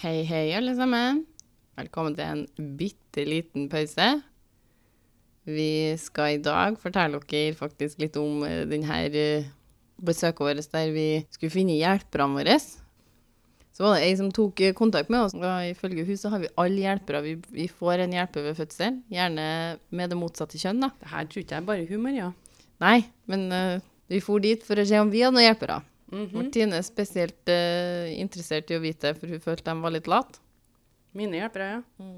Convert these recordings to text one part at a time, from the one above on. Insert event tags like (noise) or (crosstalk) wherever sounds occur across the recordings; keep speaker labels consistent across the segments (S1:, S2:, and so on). S1: Hei, hei, alle sammen. Velkommen til en bitte liten pause. Vi skal i dag fortelle dere faktisk litt om eh, den her eh, besøket vårt der vi skulle finne hjelperne våre. Så var det ei som tok eh, kontakt med oss. Og ifølge hun så har vi alle hjelpere. Vi, vi får en hjelper ved fødsel, gjerne med det motsatte kjønn, da.
S2: Det her tror ikke jeg er bare humor, ja.
S1: Nei, men eh, vi for dit for å se om vi hadde noen hjelpere.
S3: Mhm.
S1: Martine er spesielt eh, interessert i å vite, for hun følte de var litt late.
S2: Mine hjelpere, ja.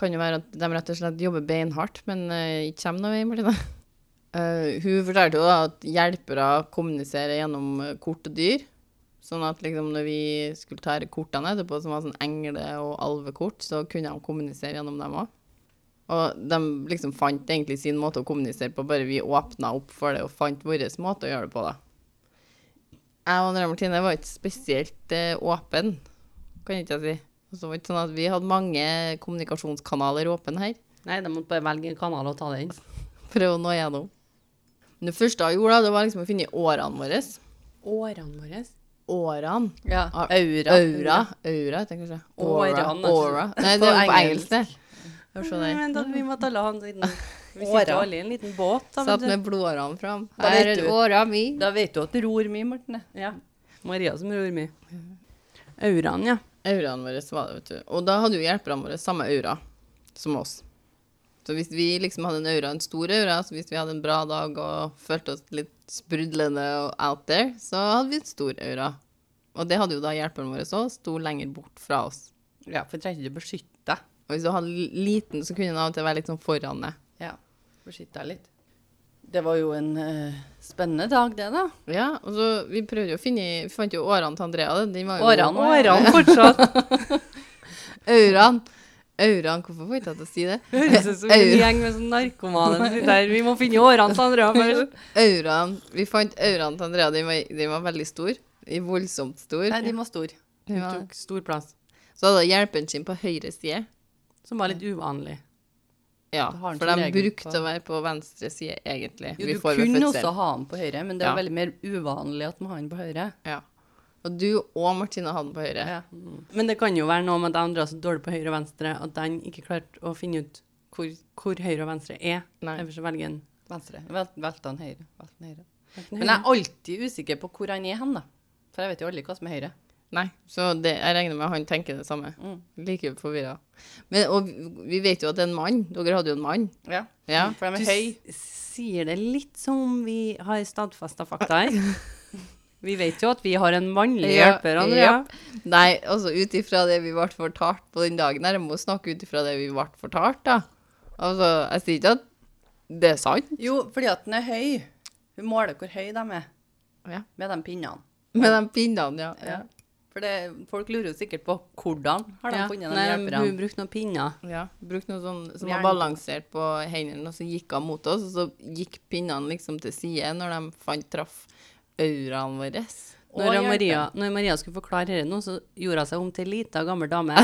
S1: Kan jo være at de rett og slett jobber beinhardt, men eh, ikke kommer noe vei, Martine. (laughs) Eh, hun fortalte jo da at hjelpere kommuniserer gjennom eh, kort og dyr. Sånn at liksom når vi skulle ta her kortene etterpå, som var sånn engle- og alvekort, så kunne de kommunisere gjennom dem òg. Og de liksom fant egentlig sin måte å kommunisere på, bare vi åpna opp for det og fant vår måte å gjøre det på, da. Jeg og Andrea Martine var ikke spesielt eh, åpen, kan ikke jeg si. Og Så var det ikke sånn at vi hadde mange kommunikasjonskanaler åpne her
S2: Nei, de måtte bare velge en kanal og ta den.
S1: for å nå gjennom. Men det første jeg gjorde, da, det var liksom å finne årene våre.
S2: Årene våre.
S1: Årene?
S2: Ja.
S1: Ah,
S2: Aura.
S1: Aura, aura heter det kanskje. Aura.
S2: Årene, altså.
S1: Aura. Nei, det
S2: På
S1: er jo på
S2: engelsk.
S1: engelsk, det. Hør så
S2: Nei,
S1: der.
S2: vent, da, vi måtte alle ha
S3: (laughs)
S2: en liten Vi
S1: Åra.
S2: sitter jo alle i en liten båt. Da,
S1: Satt
S2: vet
S1: med blodårene fram.
S2: Da vet
S1: Her er
S2: du.
S1: åra mi.
S3: Da vet du at du ror mye, Morten.
S2: du. Ja. Maria som ror mye. Auraen, ja.
S1: Auraen vår var det, vet du. Og da hadde jo hjelperne våre samme aura som oss. Så hvis vi liksom hadde en aura, en stor aura, så hvis vi hadde en bra dag og følte oss litt sprudlende og out there, så hadde vi en stor aura. Og det hadde jo da hjelperne våre òg, sto lenger bort fra oss.
S3: Ja, for trenger ikke du beskytte deg.
S1: Og hvis du hadde l- liten, så kunne den av og til være litt sånn foran deg.
S3: Ja, beskytte deg litt. Det var jo en eh, spennende dag, det, da.
S1: Ja, og så vi prøvde jo å finne Vi fant jo årene til Andrea. da. Den var jo
S3: Årene.
S2: Årene
S3: (laughs)
S2: fortsatt.
S1: (laughs) Auraen. Auraen. Hvorfor får jeg ikke jeg til å si det?
S2: Høres ut som en gjeng med sånn narkomane som sitter her. Vi må finne årene til
S3: (laughs)
S2: Andrea først.
S1: Auraen Vi fant auraen til Andrea. Den var, den var veldig stor. I voldsomt stor.
S3: Nei, de var store.
S1: Den
S2: Hun
S1: var-
S2: tok stor plass.
S1: Så hadde hun hjelpen sin på høyre side.
S2: Som var litt uvanlig.
S1: Ja,
S3: Da har han
S1: for
S3: som
S1: de
S3: regel
S1: brukte
S3: på-
S1: å være på venstre side, egentlig.
S3: Jo,
S1: Vi
S3: du
S1: får ved
S3: kunne
S1: fødsel.
S3: også ha den på høyre, men det er
S1: Ja.
S3: veldig mer uvanlig at man har den på høyre.
S1: Ja. Og du og Martine hadde den på høyre.
S3: Ja.
S2: Men det kan jo være noe med at Andrea er så dårlig på høyre og venstre at den ikke klarte å finne ut hvor, hvor høyre og venstre er.
S1: Nei.
S2: Derfor så velger en
S3: Venstre. Vel, velte den høyre. Velte den høyre.
S2: enten
S3: Men jeg er alltid usikker på hvor han er hen, da. For jeg vet jo aldri hva som er høyre.
S1: Nei, så det, jeg regner med han tenker det samme.
S3: Mm.
S1: Like forvirra. Men og vi- vi vet jo at det er en mann. Dere hadde jo en mann.
S3: Ja.
S1: Ja.
S3: For de
S2: Du
S3: er høy.
S2: s- sier det litt som om vi har stadfesta fakta
S1: (laughs)
S2: her. Vi vet jo at vi har en mannlig
S1: Ja,
S2: hjelper, Andrea.
S1: Nei, altså ut ifra det vi ble fortalt på den dagen her, jeg må snakke ut ifra det vi ble fortalt, da. Altså, jeg sier ikke at det er sant.
S3: Jo, fordi at den er høy. Hun måler hvor høy de er
S1: Ja.
S3: med de pinnene.
S1: Med de pinnene, ja.
S3: Ja. For det, folk lurer jo sikkert på hvordan har de
S2: Ja.
S3: funnet de
S2: Nei, hun
S3: hjelperne.
S2: brukte noen pinner.
S1: Ja, Brukte noe sånn som var
S3: Jern.
S1: balansert på hendene, og så gikk hun mot oss, og så gikk pinnene liksom til side når de fant traff auraen vår.
S3: Og
S2: Når,
S3: hjelper.
S2: Maria, når Maria skulle forklare dette nå, så gjorde hun seg om til ei lita, gammel dame.
S3: (laughs)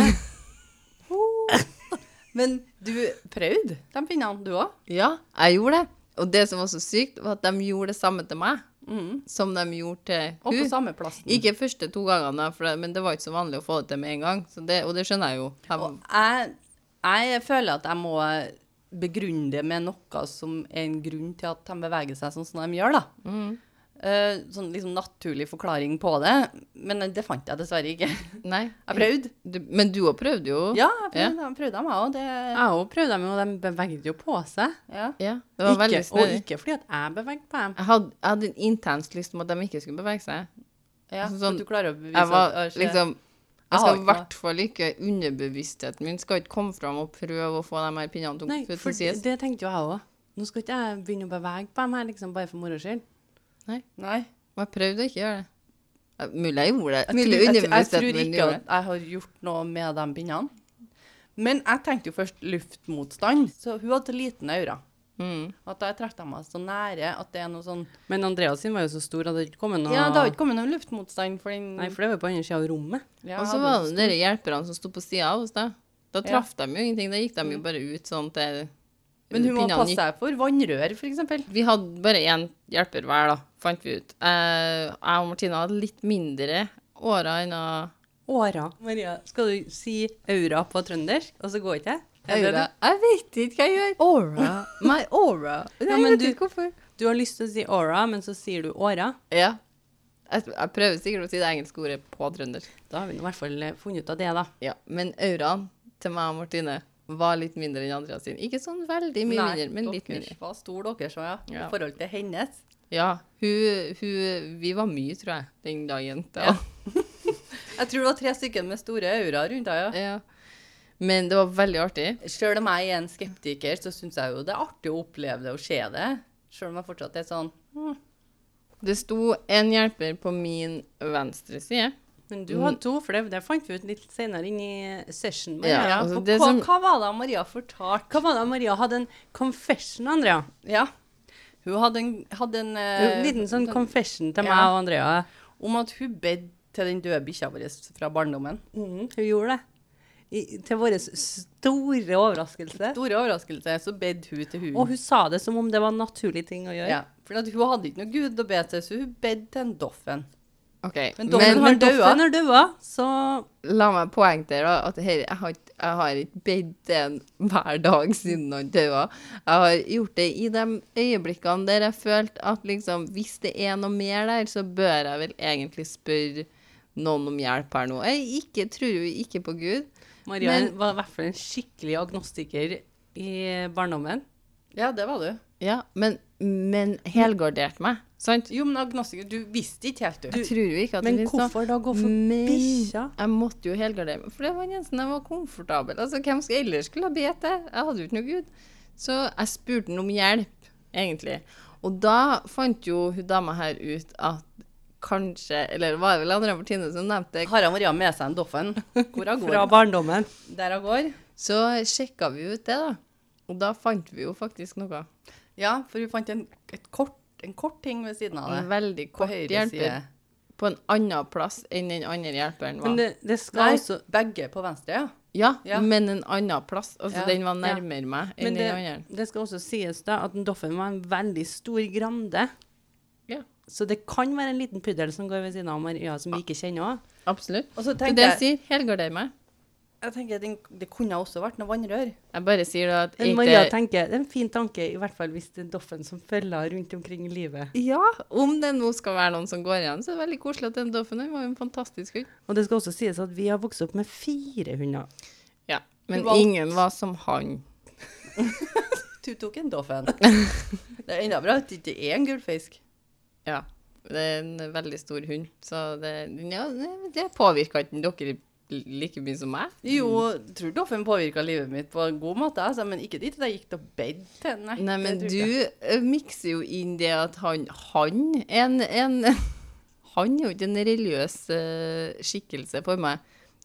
S3: Men du prøvde de pinnene, du òg?
S1: Ja, jeg gjorde det. Og det som var så sykt, var at de gjorde det samme til meg som de gjorde til
S3: Mm. Og på
S1: hun.
S3: samme plassen.
S1: Ikke første to gangene, for det, men det var ikke så vanlig å få det til med en gang. Så det, og det skjønner jeg jo.
S3: Og
S1: Jeg,
S3: jeg, jeg føler at jeg må begrunne det med noe som er en grunn til at de beveger seg sånn som de gjør, da.
S1: Mm.
S3: Eh, sånn liksom naturlig forklaring på det. Men det fant jeg dessverre ikke.
S1: nei.
S3: (laughs) Jeg prøvde.
S1: Du, men du òg prøvde jo.
S3: Ja, jeg prøvde, jeg prøvde dem, jeg òg. Det
S2: Jeg òg prøvde dem, og de bevegde jo på seg.
S3: ja.
S1: Ja, det var
S2: Ikke,
S1: veldig
S2: og
S1: snedig.
S2: ikke fordi at jeg bevegde på dem.
S1: Jeg hadde, jeg hadde en intens lyst om at de ikke skulle bevege seg.
S3: Ja,
S1: Altså,
S3: så
S1: sånn-
S3: du klarer å bevise
S1: Jeg var
S3: at-
S1: liksom
S3: Jeg
S1: Jeg
S3: har
S1: skal i
S3: ikke noe.
S1: hvert fall ikke underbevisstheten min skal ikke komme fram og prøve å få de her pinnene til
S2: Nei,
S1: å
S2: for det,
S1: sies.
S2: det tenkte jo jeg òg. Nå skal ikke jeg begynne å bevege på dem her, liksom, bare for moro skyld.
S3: Nei.
S1: Og jeg prøvde å ikke gjøre det. Ja, Mulig jeg gjorde det.
S3: Jeg tror,
S1: Mulig
S3: jeg, jeg tror
S1: underbevisstheten min
S3: ikke
S1: gjorde det.
S3: at jeg har gjort noe med de pinnene. Men jeg tenkte jo først luftmotstand. Så hun hadde så liten aura.
S1: Mm.
S3: At jeg trakk meg så nære at det er noe sånn
S2: Men Andreas sin var jo så stor, hadde det ikke kommet noe
S3: Ja, det har ikke kommet noen luftmotstand, Ah. for den
S2: Nei, for det var jo på andre sida av rommet.
S3: ja,
S1: Og så var det de hjelperne som sto på sida av oss, da. Da
S3: Ja.
S1: traff de jo ingenting. Da gikk de jo bare ut sånn til
S3: Men hun må
S1: pinnene
S3: passe
S1: gikk-
S3: seg for vannrør, f.eks.
S1: Vi hadde bare én hjelper hver, da, fant vi ut. Eh, Jeg og Martina hadde litt mindre årer enn hun
S2: Åra. Maria, skal du si aura på trøndersk, og så går ikke jeg? Er det
S3: Aura.
S2: det?
S3: Jeg vet ikke hva jeg gjør. Aura. My aura. Nei,
S2: men
S3: jeg vet
S2: du-
S3: ikke hvorfor.
S2: Du har lyst til å si aura, men så sier du åra.
S1: Ja. Jeg, jeg prøver sikkert å si det engelske ordet på trøndersk.
S2: Da har vi nå i hvert fall eh, funnet ut av det, da.
S1: Ja. Men auraen til meg og Martine var litt mindre enn Andreas sin. Ikke sånn veldig mye mindre, men litt mindre.
S3: Hva stor dere så, ja.
S1: Ja.
S3: I forhold til hennes.
S1: Ja, hun, hun Vi var mye, tror jeg, den dagen.
S3: Ja. Jeg tror det var tre stykker med store aura rundt henne.
S1: Ja. Men det var veldig artig.
S3: Selv om jeg er en skeptiker, så syns jeg jo det er artig å oppleve det og se det. Selv om jeg fortsatt er sånn
S1: Det sto en hjelper på min venstre side.
S2: Men du hadde to, for det, det fant vi ut litt senere inn i session.
S1: Ja,
S2: Maria.
S1: altså,
S3: Og
S1: det
S3: hva,
S1: som-
S3: hva var det Maria fortalte?
S2: Hva var det Maria hadde en confession, Andrea?
S3: Ja. Hun hadde en, hadde en eh,
S2: En liten sånn confession til
S3: ja.
S2: meg og Andrea.
S3: om at hun bedde til den døde bikkja vår fra barndommen.
S2: Mm, hun gjorde det. I, til vår store overraskelse.
S3: Store overraskelse, så bedde hun til hun.
S2: Og hun sa det som om det var en naturlig ting å gjøre.
S3: ja, for at hun hadde ikke noe gud å be til, så hun bedde til en doffen.
S1: OK.
S3: Men
S2: Men,
S3: Doffen
S2: men
S3: har dødd.
S2: Doffen har døda, så
S1: la meg poengtere da, at her, jeg, har, ikke- jeg har ikke bedt den hver dag siden han døde. Jeg har gjort det i de øyeblikkene der jeg følte at liksom, hvis det er noe mer der, så bør jeg vel egentlig spørre noen om hjelp her nå. Jeg ikke, tror jo ikke på Gud.
S2: Maria
S1: Men-
S2: var i hvert fall en skikkelig agnostiker i barndommen.
S3: Ja, det var du.
S1: Ja, men, men helgarderte meg, sant?
S3: Jo, men agnostiker, du visste ikke helt, du.
S1: Jeg tror jo ikke at
S2: Men
S1: det finnes noe.
S2: hvorfor da gå for
S1: Men
S2: bikkja?
S1: jeg måtte jo helgardere meg, for det var den eneste jeg var komfortabel. Altså, hvem skal ellers skulle ha bedt det? Jeg hadde jo ikke noe gud. Så jeg spurte han om hjelp, egentlig. Og da fant jo hun dama her ut at kanskje, eller var det vel Andrea Martine som nevnte det,
S3: Har han Maria med seg en doffen? Hvor hun
S2: Fra
S3: går?
S2: barndommen.
S3: Der hun går?
S1: så sjekka vi ut det, da. Og da fant vi jo faktisk noe.
S3: Ja, for hun fant en, et kort, en kort ting ved siden av
S1: En
S3: det.
S1: veldig
S3: På
S1: kort
S3: høyre side.
S1: hjelper på en annen plass enn den andre hjelperen var.
S2: Men det, det skal
S3: Nei,
S2: også
S3: begge på venstre, ja.
S1: Ja,
S3: Ja.
S1: men en annen plass. Altså,
S3: Ja,
S1: den var
S2: ja.
S1: nærmere meg
S2: Men
S1: enn
S2: det,
S1: den andre.
S2: det skal også sies da at en Doffen var en veldig stor grande.
S1: Ja.
S2: Så det kan være en liten puddel som går ved siden av Maria, som vi ikke kjenner òg.
S1: Absolutt.
S3: Og så
S1: Så
S3: tenkte
S1: det
S3: jeg,
S1: sier helgarder meg.
S3: jeg tenker, den- det kunne også vært noe vannrør.
S1: Jeg bare sier da at
S2: Men
S1: ikke-
S2: Maria tenker, det er en fin tanke, i hvert fall hvis det er en Doffen som følger rundt omkring i livet.
S1: Ja, om det nå skal være noen som går igjen, så er det veldig koselig at den Doffen han var jo en fantastisk hund.
S2: Og det skal også sies at vi har vokst opp med fire hunder.
S1: Ja, Men
S3: Du valgte-
S1: ingen var som han.
S3: Du tok en (laughs) doffen. Det er enda bra at det ikke er en gullfisk.
S1: Ja. Det er en veldig stor hund, så det, ja, det- det påvirka ikke dere like mye som meg.
S3: Jo, jeg tror doffen påvirka livet mitt på en god måte, altså, men ikke dit at jeg gikk til bed til. Nei,
S1: Nei, men
S3: det tror jeg ikke.
S1: du eh, mikser jo inn det at han Han er en, en (laughs) Han er jo ikke en religiøs eh, skikkelse for meg.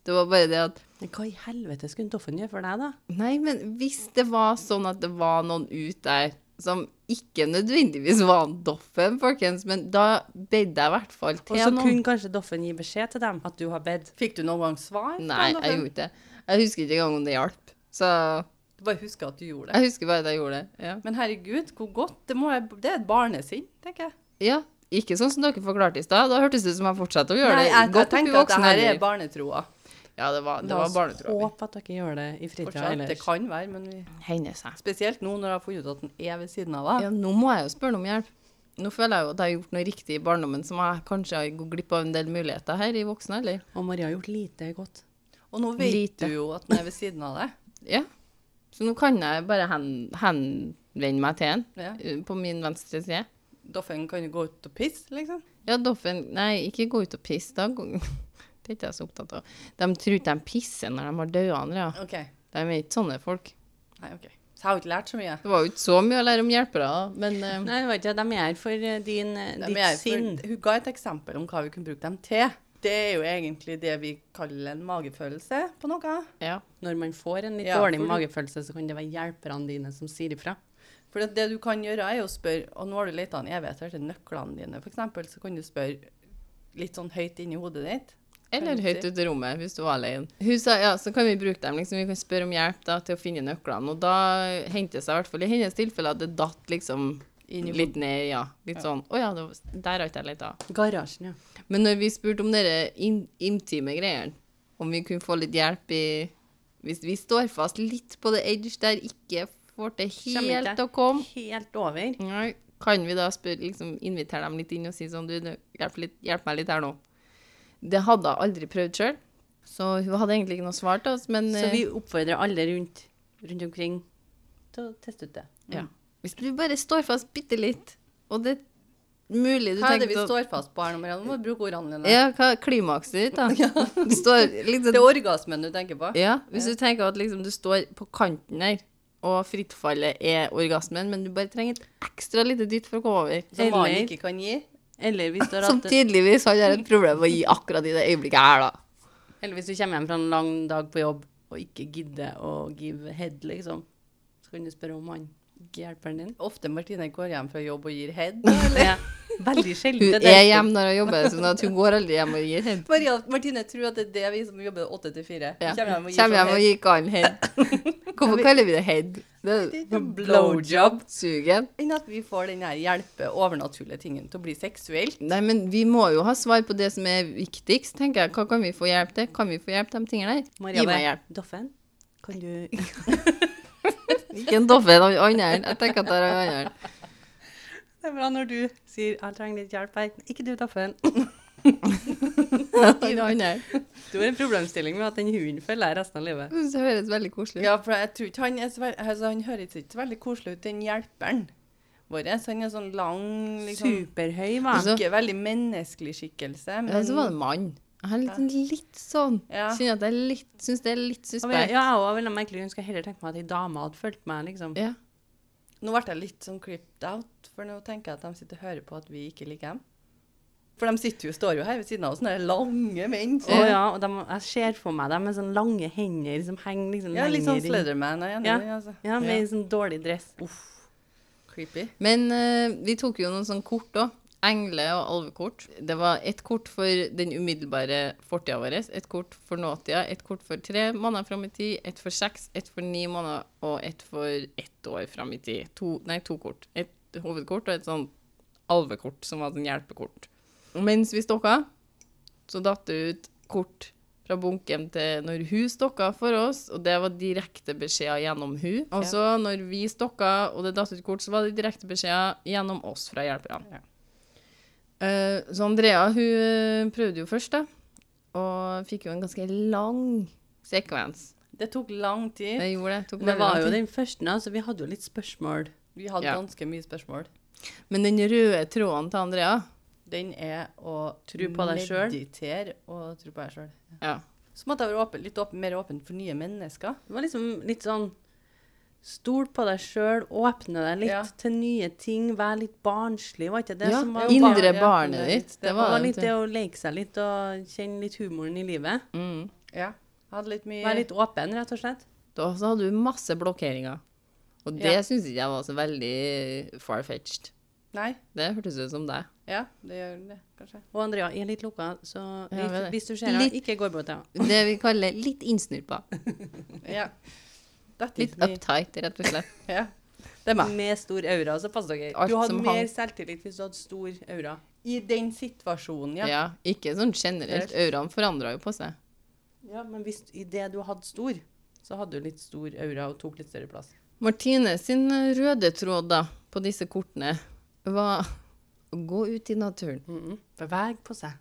S1: Det var bare det at
S2: Men hva i helvete skulle en Doffen gjøre for deg, da?
S1: Nei, men hvis det var sånn at det var noen ut der som ikke nødvendigvis var en doffen, folkens, men da bedde jeg i hvert fall
S2: Og
S1: til
S2: så
S1: noen.
S2: kunne kanskje Doffen gi beskjed til dem at du har bedt.
S3: Fikk du noen gang svar? fra
S1: Nei,
S3: en
S1: jeg
S3: doffen?
S1: gjorde ikke det. Jeg husker ikke engang om det hjalp. Så
S3: Du bare husker at du gjorde det.
S1: jeg husker bare at jeg gjorde det. Ja.
S3: Men herregud, hvor godt. Det, må jeg, det er et barnesinn, tenker jeg.
S1: ja. Ikke sånn som dere forklarte i stad. Da hørtes det ut som jeg fortsatte å gjøre
S3: Nei, jeg,
S1: det.
S3: jeg,
S1: Godt opp i
S3: tenker at det
S1: voksen
S3: her er
S1: alder.
S3: barnetroa.
S1: Ja, det var, det
S2: La
S1: var
S2: oss
S1: barnetroa mi.
S2: Håpe at dere gjør det i fritida
S3: Fortsatt, det
S2: ellers.
S3: kan være, men vi,
S1: Hender seg.
S3: spesielt nå når jeg har funnet ut at den er ved siden av
S1: Ja,
S3: henne.
S1: nå må jeg jo spørre om hjelp. Nå føler jeg jo at jeg har gjort noe riktig i barndommen som jeg kanskje har gått glipp av en del muligheter her i voksen alder.
S2: Og Maria har gjort lite godt.
S3: Og nå vet
S1: Lite.
S3: du jo at den er ved siden av
S1: (laughs)
S3: deg.
S1: Ja. Så nå kan jeg bare hen, henvende meg til en
S3: Ja.
S1: eh, på min venstre side.
S3: Doffen kan jo gå ut og pisse, liksom.
S1: Ja, Doffen Nei, ikke gå ut og pisse. Da. går- (laughs) Det er ikke jeg så opptatt av. De tror ikke de pisser når de har døde andre. Ja.
S3: OK.
S1: De er ikke sånne folk.
S3: Nei, OK. Så jeg har ikke lært så mye.
S1: Det var jo ikke så mye å lære om hjelpere, da, men eh,
S2: Mm. Nei, vet ikke, de er her for eh, din, eh,
S3: De
S2: ditt
S3: er,
S2: sinn.
S3: for, hun ga et eksempel om hva vi kunne bruke dem til. Det er jo egentlig det vi kaller en magefølelse på noe.
S1: ja.
S2: Når man får en litt
S3: Ja,
S2: dårlig
S3: for du-
S2: magefølelse, så kan det være hjelperne dine som sier ifra.
S3: For det, det du kan gjøre, er jo å spørre Og nå har du leita en evighet etter nøklene dine, f.eks. Så kan du spørre litt sånn høyt inni hodet ditt.
S1: Eller høyt ute i rommet hvis du var alene. Hun sa ja, så kan vi bruke dem. Liksom. Vi kan spørre om hjelp da, til å finne nøklene. Og da hendte det seg i hvert fall i hennes tilfelle at det datt liksom
S3: Inn i hodet.
S1: litt ned. Ja. Litt sånn Å ja, det var, der har ikke jeg leta.
S2: Garasjen, ja.
S1: Men når vi spurte om dere in intime greiene, Om vi kunne få litt hjelp i Hvis vi står fast litt på the edge der ikke får til
S2: Kommer ikke.
S1: helt å komme
S2: Helt over.
S1: Nei, kan vi da spørre, liksom, invitere dem litt inn og si sånn, du, nå, hjelp, litt, hjelp meg litt her nå. Det hadde hun aldri prøvd sjøl, så hun hadde egentlig ikke noe svar til oss. Men
S2: Så
S1: eh,
S2: vi oppfordrer alle rundt, rundt omkring til å teste ut det.
S1: ja. hvis du bare står fast bitte litt, og det er mulig du
S3: Hva er det vi
S1: tenkte å-
S3: står fast på her nå, Marianne? Du må bruke ordene dine.
S1: Ja, hva er klimakset
S3: (laughs)
S1: ditt, da? Du står liksom
S3: Det er orgasmen du tenker på.
S1: Ja, hvis du tenker at liksom du står på kanten her, og frittfallet er orgasmen, men du bare trenger et ekstra lite dytt for å komme over.
S3: Som mannen
S2: Eller-
S3: ikke kan gi.
S2: Eller hvis du har
S1: Som
S2: hatt
S1: tydeligvis han har et problem med å gi akkurat i det øyeblikket her, da.
S2: Eller hvis du kommer hjem fra en lang dag på jobb og ikke gidder å give head, liksom. Så kan du spørre om han hjelperen din.
S3: Ofte Martine går hjem fra jobb og gir
S2: (laughs)
S3: head.
S2: Det er veldig sjelden.
S1: Hun
S2: det
S1: er
S2: derfor-
S1: hjemme når hun jobber, sånn at hun går aldri hjem og gir head.
S3: Maria, Martine tror at det er det vi som jobber åtte til fire.
S1: Ja.
S3: Kommer hjem og gir
S1: Kommer hjem
S3: sånn
S1: og
S3: head.
S1: gir kallen
S3: (laughs)
S1: head. Hvorfor kaller vi det head? Det er
S3: Det er en blowjob.
S1: sugen.
S3: Enn at vi får den her hjelpe overnaturlige tingen til å bli seksuell.
S1: Nei, men vi må jo ha svar på det som er viktigst, tenker jeg. Hva kan vi få hjelp til? Kan vi få hjelp til de tingene der?
S2: (laughs) Maria,
S1: Gi meg hjelp.
S2: Doffen, kan (laughs) du
S1: Ikke en doffe, en annen. Jeg tenker at det er en annen.
S2: Det er bra når du sier 'jeg trenger litt hjelp her'. Ikke du, Doffen.
S1: En annen.
S2: Du har en problemstilling med at den hunden følger deg resten av livet.
S1: Jeg synes (laughs) Det høres veldig koselig ut.
S3: Ja, for jeg tror ikke han er så veldig, altså, han høres ikke så veldig koselig ut, den hjelperen vår. Så han er sånn lang, liksom.
S2: Superhøy, hva?
S1: Altså-
S3: Ikke veldig menneskelig skikkelse,
S1: Ja,
S3: men
S1: så var det mann. Jeg har litt, sånn- litt sånn
S3: Ja.
S1: Kjenner at jeg er litt, syns det er litt
S2: Ja, men-
S1: suspekt.
S2: Ja, og jeg ville merkelig hun skulle heller tenke meg at ei dame hadde fulgt meg, liksom.
S1: Ja.
S3: Nå ble jeg litt sånn creeped out, for nå tenker jeg at de sitter og hører på at vi ikke liker dem. For de sitter jo, står jo her ved siden av oss, sånne lange menn.
S2: Å ja, og de, jeg ser for meg dem med sånne lange hender som henger liksom
S3: Ja, litt sånn
S2: lenger inn.
S3: Slenderman. Jeg er enig
S2: Ja.
S3: i det, altså.
S2: Ja, med en sånn dårlig dress. Uff.
S3: Creepy.
S1: Men eh, vi tok jo noen sånne kort òg. Engle- og alvekort. Det var ett kort for den umiddelbare fortida vår, ett kort for nåtida, ett kort for tre måneder fram i tid, ett for seks, ett for ni måneder og ett for ett år fram i tid. To, nei, to kort. Et hovedkort og et sånn alvekort, som var sånn hjelpekort. Og mens vi stokka, så datt det ut kort fra bunken til når hun stokka for oss, og det var direkte beskjeder gjennom hun. Og så når vi stokka, og det datt ut kort, så var det direkte beskjeder gjennom oss fra hjelperne. Eh, så Andrea, hun prøvde jo først, da, og fikk jo en ganske lang sekvens.
S3: Det tok lang tid.
S1: Det gjorde det. Tok
S2: Det
S1: veldig
S2: var
S1: lang
S2: jo
S1: tid.
S2: den første, da, så vi hadde jo litt spørsmål.
S3: Vi hadde
S1: Ja.
S3: ganske mye spørsmål.
S1: Men den røde tråden til Andrea
S3: Den er å
S2: Tro på deg selv.
S3: meditere og tro på deg sjøl.
S1: ja.
S3: Så måtte jeg være åpen, litt åpen, mer åpen for nye mennesker.
S2: Det var liksom litt sånn Stol på deg sjøl, åpne deg litt
S3: Ja.
S2: til nye ting, vær litt barnslig, var ikke det
S1: ja,
S2: som var
S3: jo
S1: Indre
S3: barn- ja,
S1: barnet
S3: det-
S1: ditt.
S3: det
S1: Det
S2: Det
S1: var
S2: var
S1: det.
S2: litt det å leke seg litt og kjenne litt humoren i livet.
S1: Mm.
S3: Ja. Hadde litt mye
S2: Være litt åpen, rett og slett.
S1: Da så hadde du masse blokkeringer. Og det
S3: Ja.
S1: synes syns ikke jeg var så veldig far-fetched.
S3: Nei.
S1: Det hørtes ut som deg.
S3: Ja, det gjør det,
S2: (laughs)
S3: kanskje.
S2: Og Andrea er litt lukka, så
S1: Ja,
S2: hvis,
S1: vel.
S2: hvis du ser henne,
S1: Litt-
S2: ikke går bort til henne.
S1: Det vi kaller litt innsnurpa.
S3: Ja. Dette
S1: Litt
S3: er mye.
S1: uptight, rett og slett.
S3: Ja. Det er meg.
S2: Med stor aura, så pass dere.
S1: Alt
S2: Du hadde
S1: som
S2: mer
S1: hang-
S2: selvtillit hvis du hadde stor aura.
S3: I den
S1: (laughs)
S3: situasjonen,
S1: Ja.
S3: ja.
S1: ikke sånn generelt. Auraen forandra jo på seg.
S2: Ja, men hvis i det du hadde stor, så hadde du litt stor aura og tok litt større plass.
S1: Martine sin eh, røde tråd da, på disse kortene var å gå ut i naturen.
S2: Beveg på seg.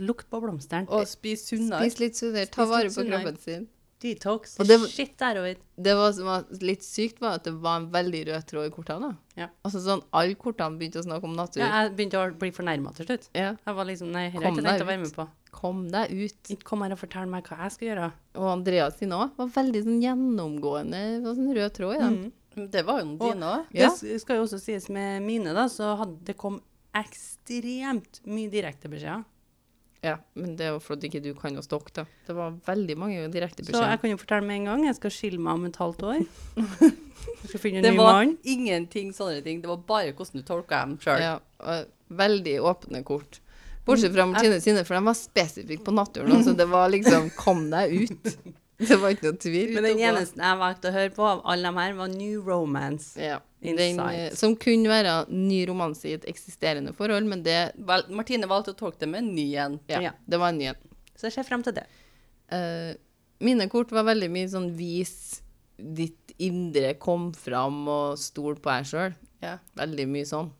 S2: Lukt på blomsteren.
S3: Og spise sunnere.
S1: Spis litt sunnere, ta
S2: Spis litt
S1: vare på
S2: sunnere.
S1: kroppen sin.
S2: Detox.
S1: Og det var-
S2: Shit derover.
S1: Det var, som var litt sykt, var at det var en veldig rød tråd i kortene. da.
S2: Ja.
S1: Altså sånn, Alle kortene begynte å snakke om natur.
S2: Ja, jeg begynte å bli fornærma til slutt.
S1: Ja.
S2: Jeg var liksom, nei, her har jeg
S1: Kom
S2: ikke
S1: deg
S2: tenkt å være
S1: ut.
S2: med på.
S1: Kom deg ut.
S2: Ikke kom her og fortell meg hva jeg skal gjøre.
S1: Og Andreas sin òg var veldig sånn gjennomgående. Det var sånn rød tråd i
S2: Mm.
S1: den.
S3: Mm, Det var jo
S2: Og-
S3: dine òg.
S1: Ja.
S2: Det s- skal jo også sies med mine, da, så hadde det kom ekstremt mye direktebeskjeder.
S1: Ja, men det er jo fordi ikke du kan å stokke, da. Det var veldig mange direkte
S2: Så jeg
S1: beskjeder.
S2: kan jo fortelle med en gang, jeg skal skille meg om et halvt (laughs) år. Jeg skal finne en
S3: Det
S2: ny
S3: var
S2: mann.
S3: ingenting sånne ting. Det var bare hvordan du tolka dem sjøl.
S1: Ja, og veldig åpne kort. Bortsett fra
S2: Mm.
S1: Martine sine, for de var spesifikke på naturen. Altså det var liksom 'kom deg
S2: (laughs)
S1: ut'. Det var ikke noe tvil.
S2: Men den eneste jeg valgte å høre på av alle dem her, var New Romance.
S1: ja, den,
S2: Insight.
S1: eh, som kunne være ny romanse i et eksisterende forhold, men det,
S3: Vel, Martine valgte å tolke det med en ny en.
S1: ja,
S2: Ja.
S1: det var en ny en.
S2: Så jeg ser frem til det.
S1: Eh, mine kort var veldig mye sånn vis ditt indre kom fram og stol på deg sjøl.
S3: Ja.
S1: Veldig mye sånn.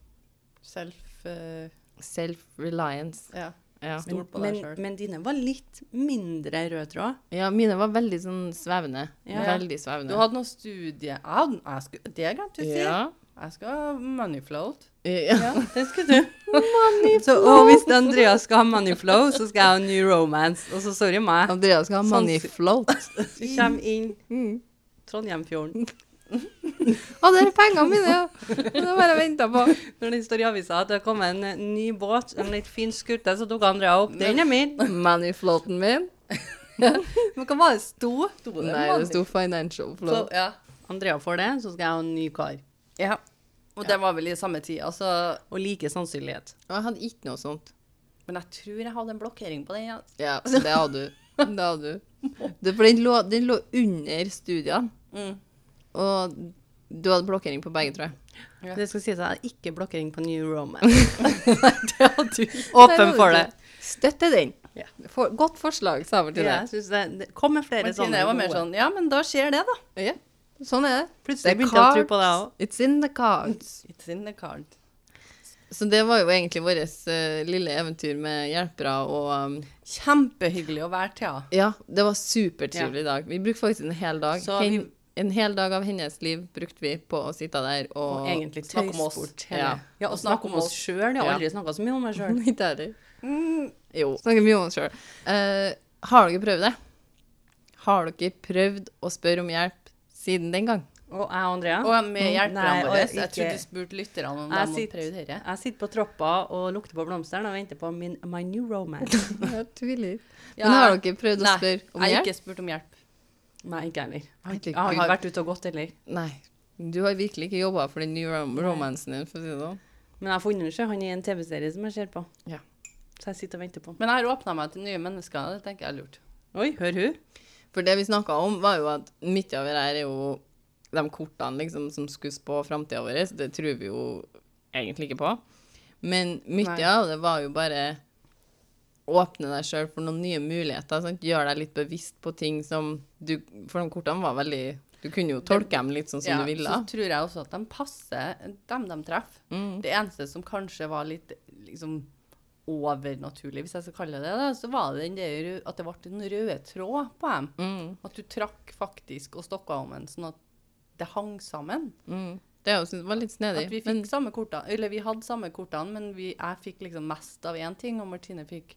S3: Self eh,
S1: Self-reliance.
S3: Ja.
S1: Ja.
S3: Stol på deg
S2: men,
S3: selv.
S2: men dine var litt mindre rød tråd.
S1: ja, mine var veldig sånn svevende.
S2: Ja.
S1: Veldig
S3: Du
S1: svevende.
S3: hadde noen studie... Jeg hadde, jeg skulle, det glemte jeg å si.
S1: ja.
S3: Jeg skal ha moneyfloat. (laughs)
S1: Ja. (laughs)
S2: Ja, det skulle du. (laughs) Så, og hvis Andrea skal ha Moneyflow, så skal jeg ha New Romance. Og så sorry meg.
S1: Andrea skal ha
S2: Sånn-
S1: money float. (laughs)
S2: Du kommer inn
S1: Mm.
S2: Trondheimfjorden.
S1: Å, det er pengene mine,
S3: (laughs)
S1: ja! Det var bare jeg venta på.
S2: Når det står i avisa at det kom en eh, ny båt, en litt fin skute, så tok Andrea opp. Den er min.
S1: Money floaten min.
S3: Men hva var det sto? sto det
S1: Nei, det sto financial
S3: Så, (laughs)
S1: float.
S3: ja.
S2: Andrea får det, så skal jeg ha en ny kar.
S3: ja. Og det var vel i samme tid. Altså,
S2: Og like sannsynlighet.
S1: Og jeg hadde ikke noe sånt.
S3: men jeg tror jeg hadde en blokkering på den. Ja.
S1: Ja,
S3: (laughs)
S1: det hadde du. Det hadde du. Det, for den lå, den lå under studiene.
S3: Mm.
S1: Og du hadde blokkering på begge, tror jeg.
S3: Ja.
S2: Det skal sies at jeg har ikke blokkering på
S3: (laughs)
S2: New Romance.
S3: Det hadde du.
S1: Der
S2: Åpen
S1: hadde
S2: for
S1: du
S2: det.
S1: Støtte den.
S2: Ja.
S1: For, godt forslag, sa vel til deg.
S2: Ja, jeg synes det, det kommer flere
S3: Martine
S2: sånne
S3: var mer
S2: gode.
S3: sånn Ja, men da skjer det, da.
S1: Ja. Sånn er det.
S2: Plutselig
S1: Det er
S2: begynte jeg å tro
S1: cards.
S2: på deg òg.
S1: It's in the cards.
S3: It's in the card.
S1: Så det var jo egentlig vårt lille eventyr med hjelpere og um,
S3: Kjempehyggelig å være Thea.
S1: Ja, det var supertrivelig dag. Vi brukte faktisk en hel dag.
S2: Så vi-
S1: Hen, en hel dag av hennes liv brukte vi på å sitte der og,
S2: Og egentlig
S3: snakke om oss.
S2: tøysbort
S1: Ja.
S2: hele. Ja, og snakke om oss sjøl. Jeg har
S1: Ja.
S2: aldri snakka så mye om meg
S3: (laughs)
S2: sjøl.
S1: (laughs) Ikke er det.
S2: Mm.
S1: Jo. Snakker mye om oss sjøl. har dere prøvd det? Har dere prøvd å spørre om hjelp siden den gang?
S2: Og jeg og Andrea.
S3: Og med
S2: Nei,
S3: hjelperne
S2: og
S3: våre.
S2: ikke-
S3: Jeg trodde du spurte lytterne om de
S2: Jeg
S3: hadde
S2: sitter-
S3: prøvd dette.
S2: Jeg sitter på troppa og lukter på blomstene og venter på min My New Romance.
S1: (laughs) Jeg tviler.
S3: (laughs) Ja.
S1: Men har dere prøvd å
S3: Nei,
S1: spørre om
S3: Jeg har
S1: hjelp?
S3: ikke spurt om hjelp.
S2: Nei, ikke heller. Jeg har ikke-
S1: Herregud.
S2: jeg har ikke vært ute og gått heller.
S1: Nei. Du har virkelig ikke jobba for den nye rom romansen din, for å si det sånn.
S2: Men jeg har funnet den sjøl. Han er i en TV-serie som jeg ser på.
S1: Ja.
S2: Så jeg sitter og venter på.
S3: Men jeg har åpna meg til nye mennesker. Det tenker jeg er lurt.
S2: Oi, hør hun.
S1: For det vi snakka om, var jo at mye av det her er jo de kortene liksom, som skulle spå framtida vår. Det tror vi jo egentlig ikke på. Men mye
S3: Nei.
S1: av det var jo bare åpne deg sjøl for noen nye muligheter. Sant? Gjøre deg litt bevisst på ting som du For de kortene var veldig Du kunne jo tolke dem litt sånn som
S3: Ja,
S1: du ville.
S3: så tror jeg også at de passer dem de treffer.
S1: Mm.
S3: Det eneste som kanskje var litt liksom overnaturlig, hvis jeg skal kalle det det, så var det den der, at det ble en røde tråd på dem.
S1: Mm,
S3: At du trakk faktisk og stokka om en, sånn at det hang sammen.
S1: mm. Det jeg synes var litt snedig.
S3: At vi fikk
S1: men-
S3: samme kortene, eller vi hadde samme kortene, men vi, jeg fikk liksom mest av én ting, og Martine fikk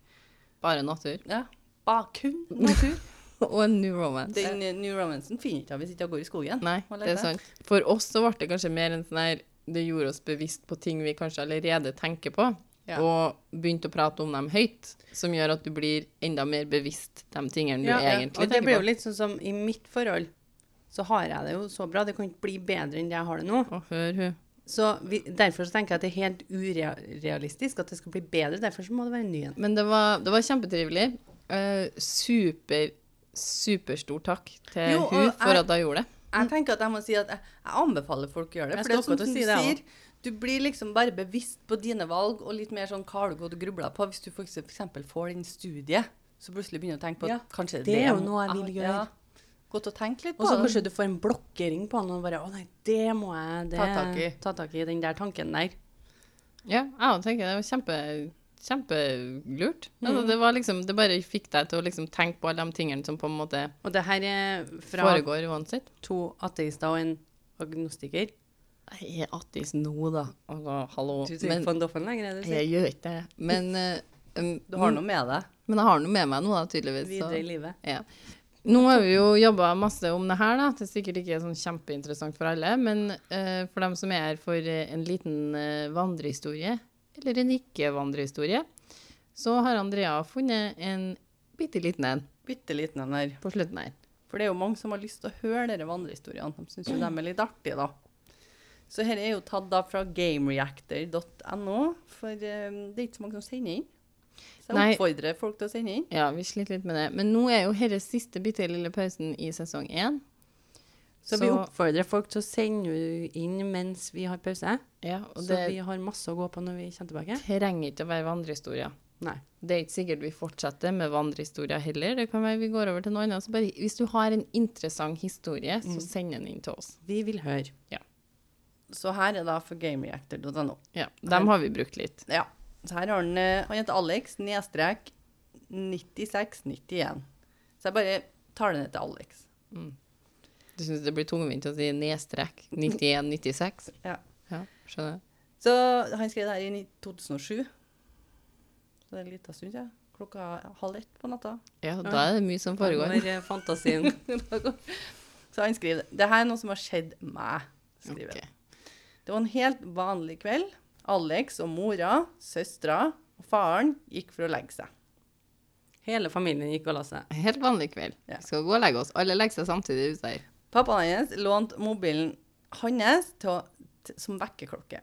S1: Bare natur.
S3: ja, bare kun natur.
S1: (laughs) Og en new romance.
S3: Den eh, New Romancen finner ikke jeg hvis ikke jeg går i skogen.
S1: Nei,
S3: Hva
S1: det
S3: leter
S1: er sant. For oss så ble det kanskje mer en sånn her Det gjorde oss bevisst på ting vi kanskje allerede tenker på,
S3: Ja.
S1: og begynte å prate om dem høyt, som gjør at du blir enda mer bevisst de tingene du
S2: Ja, ja.
S1: egentlig
S2: og det blir
S1: tenker
S2: jo
S1: på.
S2: litt sånn som i mitt forhold, så har jeg det jo så bra. Det kan ikke bli bedre enn det jeg har det nå.
S1: Å, hør hun.
S2: Så vi, derfor så tenker jeg at det er helt urealistisk at det skal bli bedre. Derfor så må det være en ny en.
S1: Men det var, det var kjempetrivelig. Eh, super, superstor takk til
S3: Jo, og
S1: hun for
S3: jeg-
S1: at hun gjorde det.
S3: Jeg tenker at jeg må si at jeg, jeg anbefaler folk å gjøre det.
S2: Jeg
S3: For det er sånn
S2: skal akkurat
S3: som du
S2: si det, jeg
S3: sier, du blir liksom bare bevisst på dine valg, og litt mer sånn hva har du gått og grubla på. Hvis du for ekse- for eksempel får den studiet, så plutselig begynner du å tenke på
S2: Ja,
S3: at kanskje
S2: det er jo
S3: må-
S2: noe jeg
S3: har-
S2: vil gjøre.
S3: ja. Godt å tenke litt på
S2: Og så
S3: det.
S2: kanskje du får en blokkering på han og bare Å nei, det må jeg det,
S3: Ta tak i.
S2: ta tak i. Den der tanken der.
S1: Ja, jeg tenker det var kjempe, kjempelurt. Altså, det var liksom, det bare fikk deg til å liksom tenke på alle de tingene som på en måte
S2: Og det her er fra
S1: foregår uansett.
S2: to ateister og en agnostiker.
S1: Jeg er ateist nå, da. Altså, hallo.
S2: Du sier ikke von Doffen lenger, er det du sier?
S1: Jeg gjør ikke det. Men, eh, um,
S3: Du har noe med deg.
S1: men jeg har noe med meg nå, da, tydeligvis.
S2: Videre i
S1: Så.
S2: livet.
S1: Ja. Nå har vi jo jobba masse om det her, da. Det er sikkert ikke sånn kjempeinteressant for alle. Men eh, for dem som er her for eh, en liten eh, vandrehistorie, eller en ikke-vandrehistorie, så har Andrea funnet en bitte liten en
S3: Bitte liten en her.
S1: på slutten her.
S3: For det er jo mange som har lyst til å høre dere vandrehistoriene. De syns jo de er litt artige, da. Så her er jo tatt da fra gamereactor.no, for eh, det er ikke så mange som sender inn. Så
S1: Nei.
S3: jeg oppfordrer folk til å sende inn.
S1: Ja, vi sliter litt med det. Men nå er jo denne siste bitte lille pausen i sesong én.
S2: Så, vi oppfordrer folk til å sende inn mens vi har pause.
S1: ja, og
S2: Så
S1: det
S2: vi har masse å gå på når vi kommer tilbake.
S1: trenger ikke å være vandrehistorier.
S2: Nei.
S1: Det er ikke sikkert vi fortsetter med vandrehistorier heller. Det kan være vi går over til noe annet. Så bare, hvis du har en interessant historie, så send den inn til oss.
S2: Vi vil høre.
S3: Så her er da for gamereactor.no.
S1: Ja, Dem har vi brukt litt.
S3: Ja. Så her har han eh, Han heter Alex, nedstrek 9691. Så jeg bare tar det ned til Alex.
S1: Mm. Du syns det blir tungvint å si nedstrek 91-96?
S3: Ja.
S1: Ja, skjønner.
S3: Så han skrev det her i ni- 2007. Så det er en liten stund siden. Klokka halv ett på natta.
S1: Ja, da er det mye som foregår.
S2: Når eh, fantasien
S3: Så han skriver det her er noe som har skjedd meg. skriver
S1: Ok.
S3: han. Det var en helt vanlig kveld. Alex og mora, søstera og faren gikk for å legge seg.
S2: Hele familien gikk og la seg.
S1: Helt vanlig kveld.
S3: Ja.
S1: Vi skal gå og legge oss. Alle legger seg samtidig ute der.
S3: Pappaen hennes lånte mobilen hans til å, til, som vekkerklokke.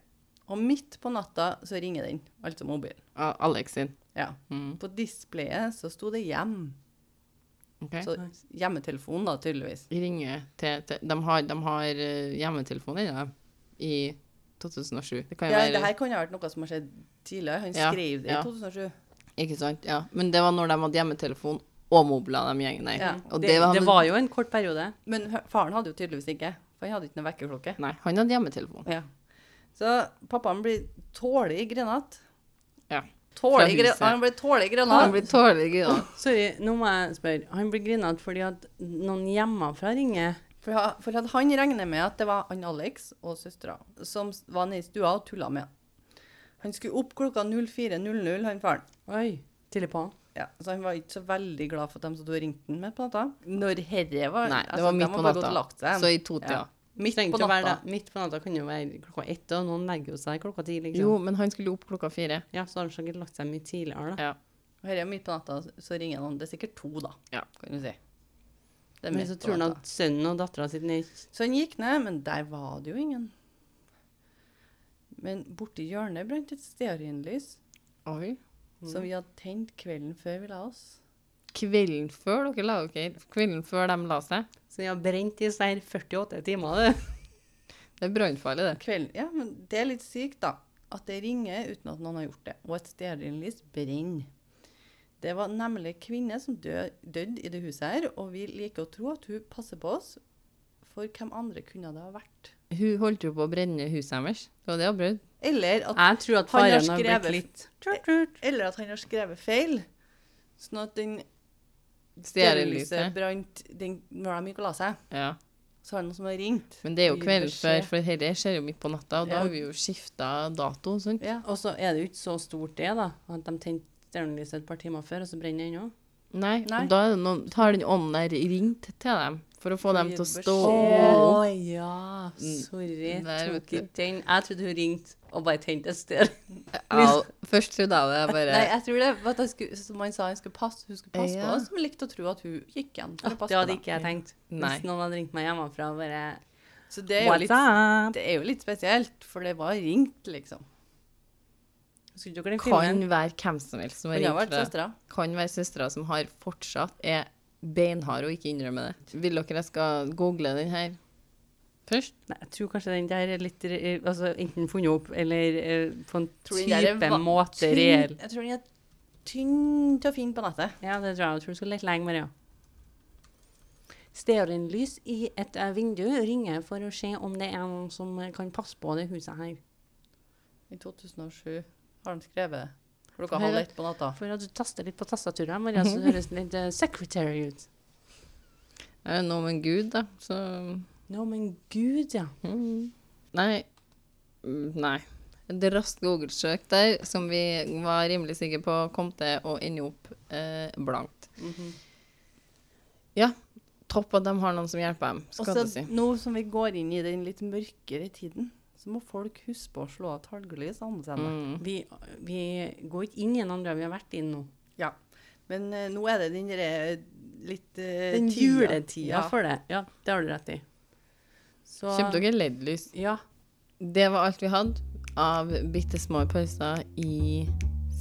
S3: Og midt på natta så ringer den, altså mobilen.
S1: Ah, Alex sin. Mm.
S3: Ja. På displayet så sto det hjem.
S1: Ok.
S3: Så hjemmetelefon, da, tydeligvis.
S1: Ringe til, til De har, de har eh, hjemmetelefonen ennå, de, i 2007. Det kan jo
S3: Ja,
S1: være
S3: det her kan jo ha vært noe som har skjedd tidligere. Han
S1: Ja,
S3: skrev det
S1: ja.
S3: i 2007.
S1: Ikke sant? Ja. Men det var når de hadde hjemmetelefon og mobiler, de gjengen der.
S3: Ja.
S1: Og
S2: Det, det
S1: han-
S2: var jo en kort periode.
S3: Men hø- faren hadde jo tydeligvis ikke, for han hadde ikke noen vekkerklokke.
S1: Nei, han hadde hjemmetelefon.
S3: Ja. Så pappaen blir tålig grinete.
S1: Ja.
S3: Tålig
S1: Fra
S3: gri-
S1: huset.
S3: Han blir tålig
S1: Han
S3: grinete.
S1: blir tålig gira.
S2: Sorry, nå må jeg spørre. Han blir grinete fordi at noen hjemmefra ringer.
S3: For, ha- for at han regner med at det var han Alex og søstera som s- var nede i stua og tulla med han. Han skulle opp klokka 04.00, han faren.
S2: Oi, tidlig på.
S3: Ja, så han var ikke så veldig glad for at de som hadde ringt han midt på natta. Når herre var
S1: Nei, det
S3: altså,
S1: var
S3: de
S1: midt
S3: må
S1: på
S3: bare gått og
S1: natta.
S3: lagt seg.
S1: Så i totida.
S3: Ja. Midt
S2: Trengte
S3: på
S2: å være
S3: natta.
S2: det- Midt på natta kan jo være klokka ett, og noen legger jo seg klokka ti. liksom.
S1: Jo, men han skulle opp klokka fire.
S2: Ja, så har han sikkert lagt seg mye tidligere, da.
S1: Ja.
S3: Herre midt på natta, så ringer han. Det er sikkert to, da,
S1: Ja.
S3: kan du si. Det er
S2: Men
S3: midt
S2: så
S3: på
S2: tror han
S3: natta.
S2: at sønnen og dattera sitter ned
S3: Så han gikk ned, men der var det jo ingen. Men borti hjørnet brant et stearinlys
S1: Oi. Mm.
S3: som vi hadde tent kvelden før vi la oss.
S1: Kvelden før dere la dere Kvelden før de la seg.
S2: Så de har brent i seg 48 timer, du.
S1: Det er brannfarlig, det.
S3: Kvelden, ja, men det er litt sykt, da. At det ringer uten at noen har gjort det. Og et stearinlys brenner. Det var nemlig en kvinne som dø- døde i det huset her, og vi liker å tro at hun passer på oss. For hvem andre kunne det ha vært?
S1: Hun holdt jo på å brenne huset deres. Det var det hun brød.
S3: Eller at
S2: Jeg tror at
S3: Han har
S2: faren har blitt
S3: skrevet-
S2: litt Tjort, tjort.
S3: Eller at han har skrevet feil. Sånn at den stearinlyset
S1: Stearinlyset.
S3: brant den, når de gikk og la seg.
S1: Ja.
S3: Så var det noen som har ringt.
S1: Men det er jo
S3: Gi
S1: kvelden
S3: beskjed.
S1: før, for dette skjer jo midt på natta, og da
S3: Ja.
S1: har vi jo skifta dato. og sånt.
S3: Ja.
S2: Og så er det jo ikke så stort, det, da. At de tente stearinlyset et par timer før, og så brenner det ennå.
S1: Nei,
S3: Nei.
S1: og da er det noen, har den ånden der ringt til dem for å få dem
S3: Gi
S1: til å
S3: beskjed.
S1: stå opp.
S2: Å ja, sorry.
S1: Der, vet
S2: tok
S1: du.
S2: ikke den. Jeg trodde hun ringte og bare tente et sted.
S1: Ja, først trodde jeg det. Jeg bare
S3: Nei, jeg tror det var at jeg skulle, som han sa, han skulle passe, hun skulle passe
S1: Ja.
S3: på oss, som likte å tro at hun gikk igjen. for å passe
S2: Ah, Det hadde
S3: på dem.
S2: ikke jeg tenkt.
S1: Nei.
S2: Hvis noen hadde ringt meg hjemmefra og bare
S3: Så det er, jo
S2: What's
S3: litt,
S2: up?
S3: det er jo litt spesielt, for det var ringt, liksom.
S2: Husker ikke dere den
S1: Kan
S2: filmen?
S1: være hvem som helst som har
S3: Hun har
S1: ringt
S3: vært
S1: fra
S3: søstera.
S1: Kan være søstera som har fortsatt er beinhard og ikke innrømmer det. Vil dere jeg skal google den her først?
S2: Nei, jeg tror kanskje den der er litt re- altså, enten funnet opp eller eh, på en
S3: Tror den der er va-
S2: type (laughs) måte reell.
S3: Jeg tror den er tynn til å finne på nettet.
S2: Ja, det tror jeg. Jeg tror du skal lete lenge med det. ja. Stearinlys i et eh, vindu ringer for å se om det er noen som eh, kan passe på det huset her.
S3: I 2007 har han skrevet det. Klokka
S2: Her er-
S3: halv ett på natta.
S2: For at du taster litt på tastaturet, Maria, (laughs) så høres det litt eh, secretary ut.
S1: Er det noe med Gud, da? Så
S2: Nå, men gud, ja.
S1: mm. Nei. Mm, Nei. Et raskt Google-søk der som vi var rimelig sikre på kom til å ende opp eh, blankt.
S3: Mhm.
S1: Ja. Topp at de har noen som hjelper dem,
S3: Og
S1: skal
S3: så
S1: du si.
S3: nå som vi går inn i den litt mørkere tiden, så må folk huske på å slå av talglys annerledes.
S1: Mm.
S2: Vi, vi går ikke inn gjennom det vi har vært inn nå.
S3: Ja. Men eh, nå er det den derre litt eh,
S2: Den
S3: tida.
S2: juletida
S3: Ja.
S2: for det. Ja, det har du rett i. Så
S1: Kjøpte dere LED-lys?
S2: Ja.
S1: Det var alt vi hadde av bitte små pauser i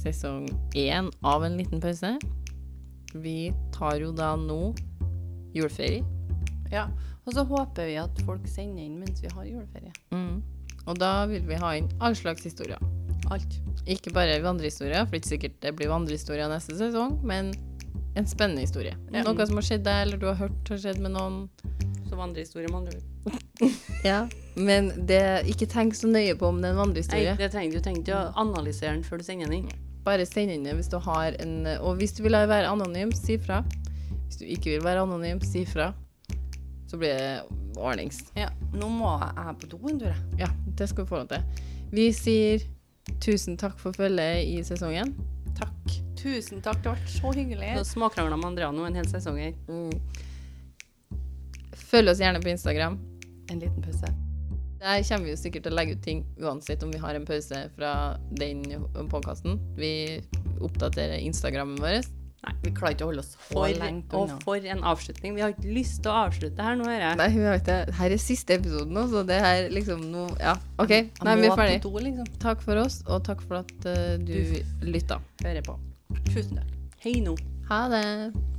S1: sesong én av en liten pause. Vi tar jo da nå juleferie.
S3: Ja, og så håper vi at folk sender inn mens vi har juleferie.
S1: Og da vil vi ha inn avslagshistorier.
S3: Alt.
S1: Ikke bare vandrehistorier, for det er ikke sikkert det blir vandrehistorier neste sesong, men en spennende historie.
S2: Ja.
S1: Noe som har skjedd deg, eller du har hørt har skjedd med noen.
S2: Som andre historier, med andre ord.
S1: Ja. Men det, ikke tenk så nøye på om det er en vandrehistorie.
S2: Nei, det trenger du trenger ikke å analysere den før du sender den inn.
S1: Bare send inn det hvis du har en Og hvis du vil være anonym, si fra. Hvis du ikke vil være anonym, si fra. Så blir det ordnings.
S3: Ja. Nå må jeg på do en tur, jeg.
S1: Ja, det skal vi få lov til. Vi sier tusen takk for følget i sesongen.
S3: Takk. Tusen takk, det har vært så hyggelig.
S2: Så småkrangla med Andrea nå en hel sesong her.
S1: Mm. Følg oss gjerne på Instagram.
S3: En liten pause.
S1: Der kommer vi jo sikkert til å legge ut ting uansett om vi har en pause fra den podkasten. Vi oppdaterer Instagrammen vår.
S3: Vi klarer ikke å holde oss så
S2: For,
S3: lengt
S2: og
S3: unna.
S2: for en avslutning. Vi har ikke lyst til å avslutte her nå, hører jeg.
S1: Nei, vi har ikke det. Her er siste episoden nå, så det her liksom nå Ja, OK. Nei, vi
S3: Jeg må
S1: er ferdig.
S3: på do, liksom.
S1: Takk for oss, og takk for at eh, du lytta.
S2: Hører på.
S3: Tusen takk.
S2: Hei nå.
S1: Ha det.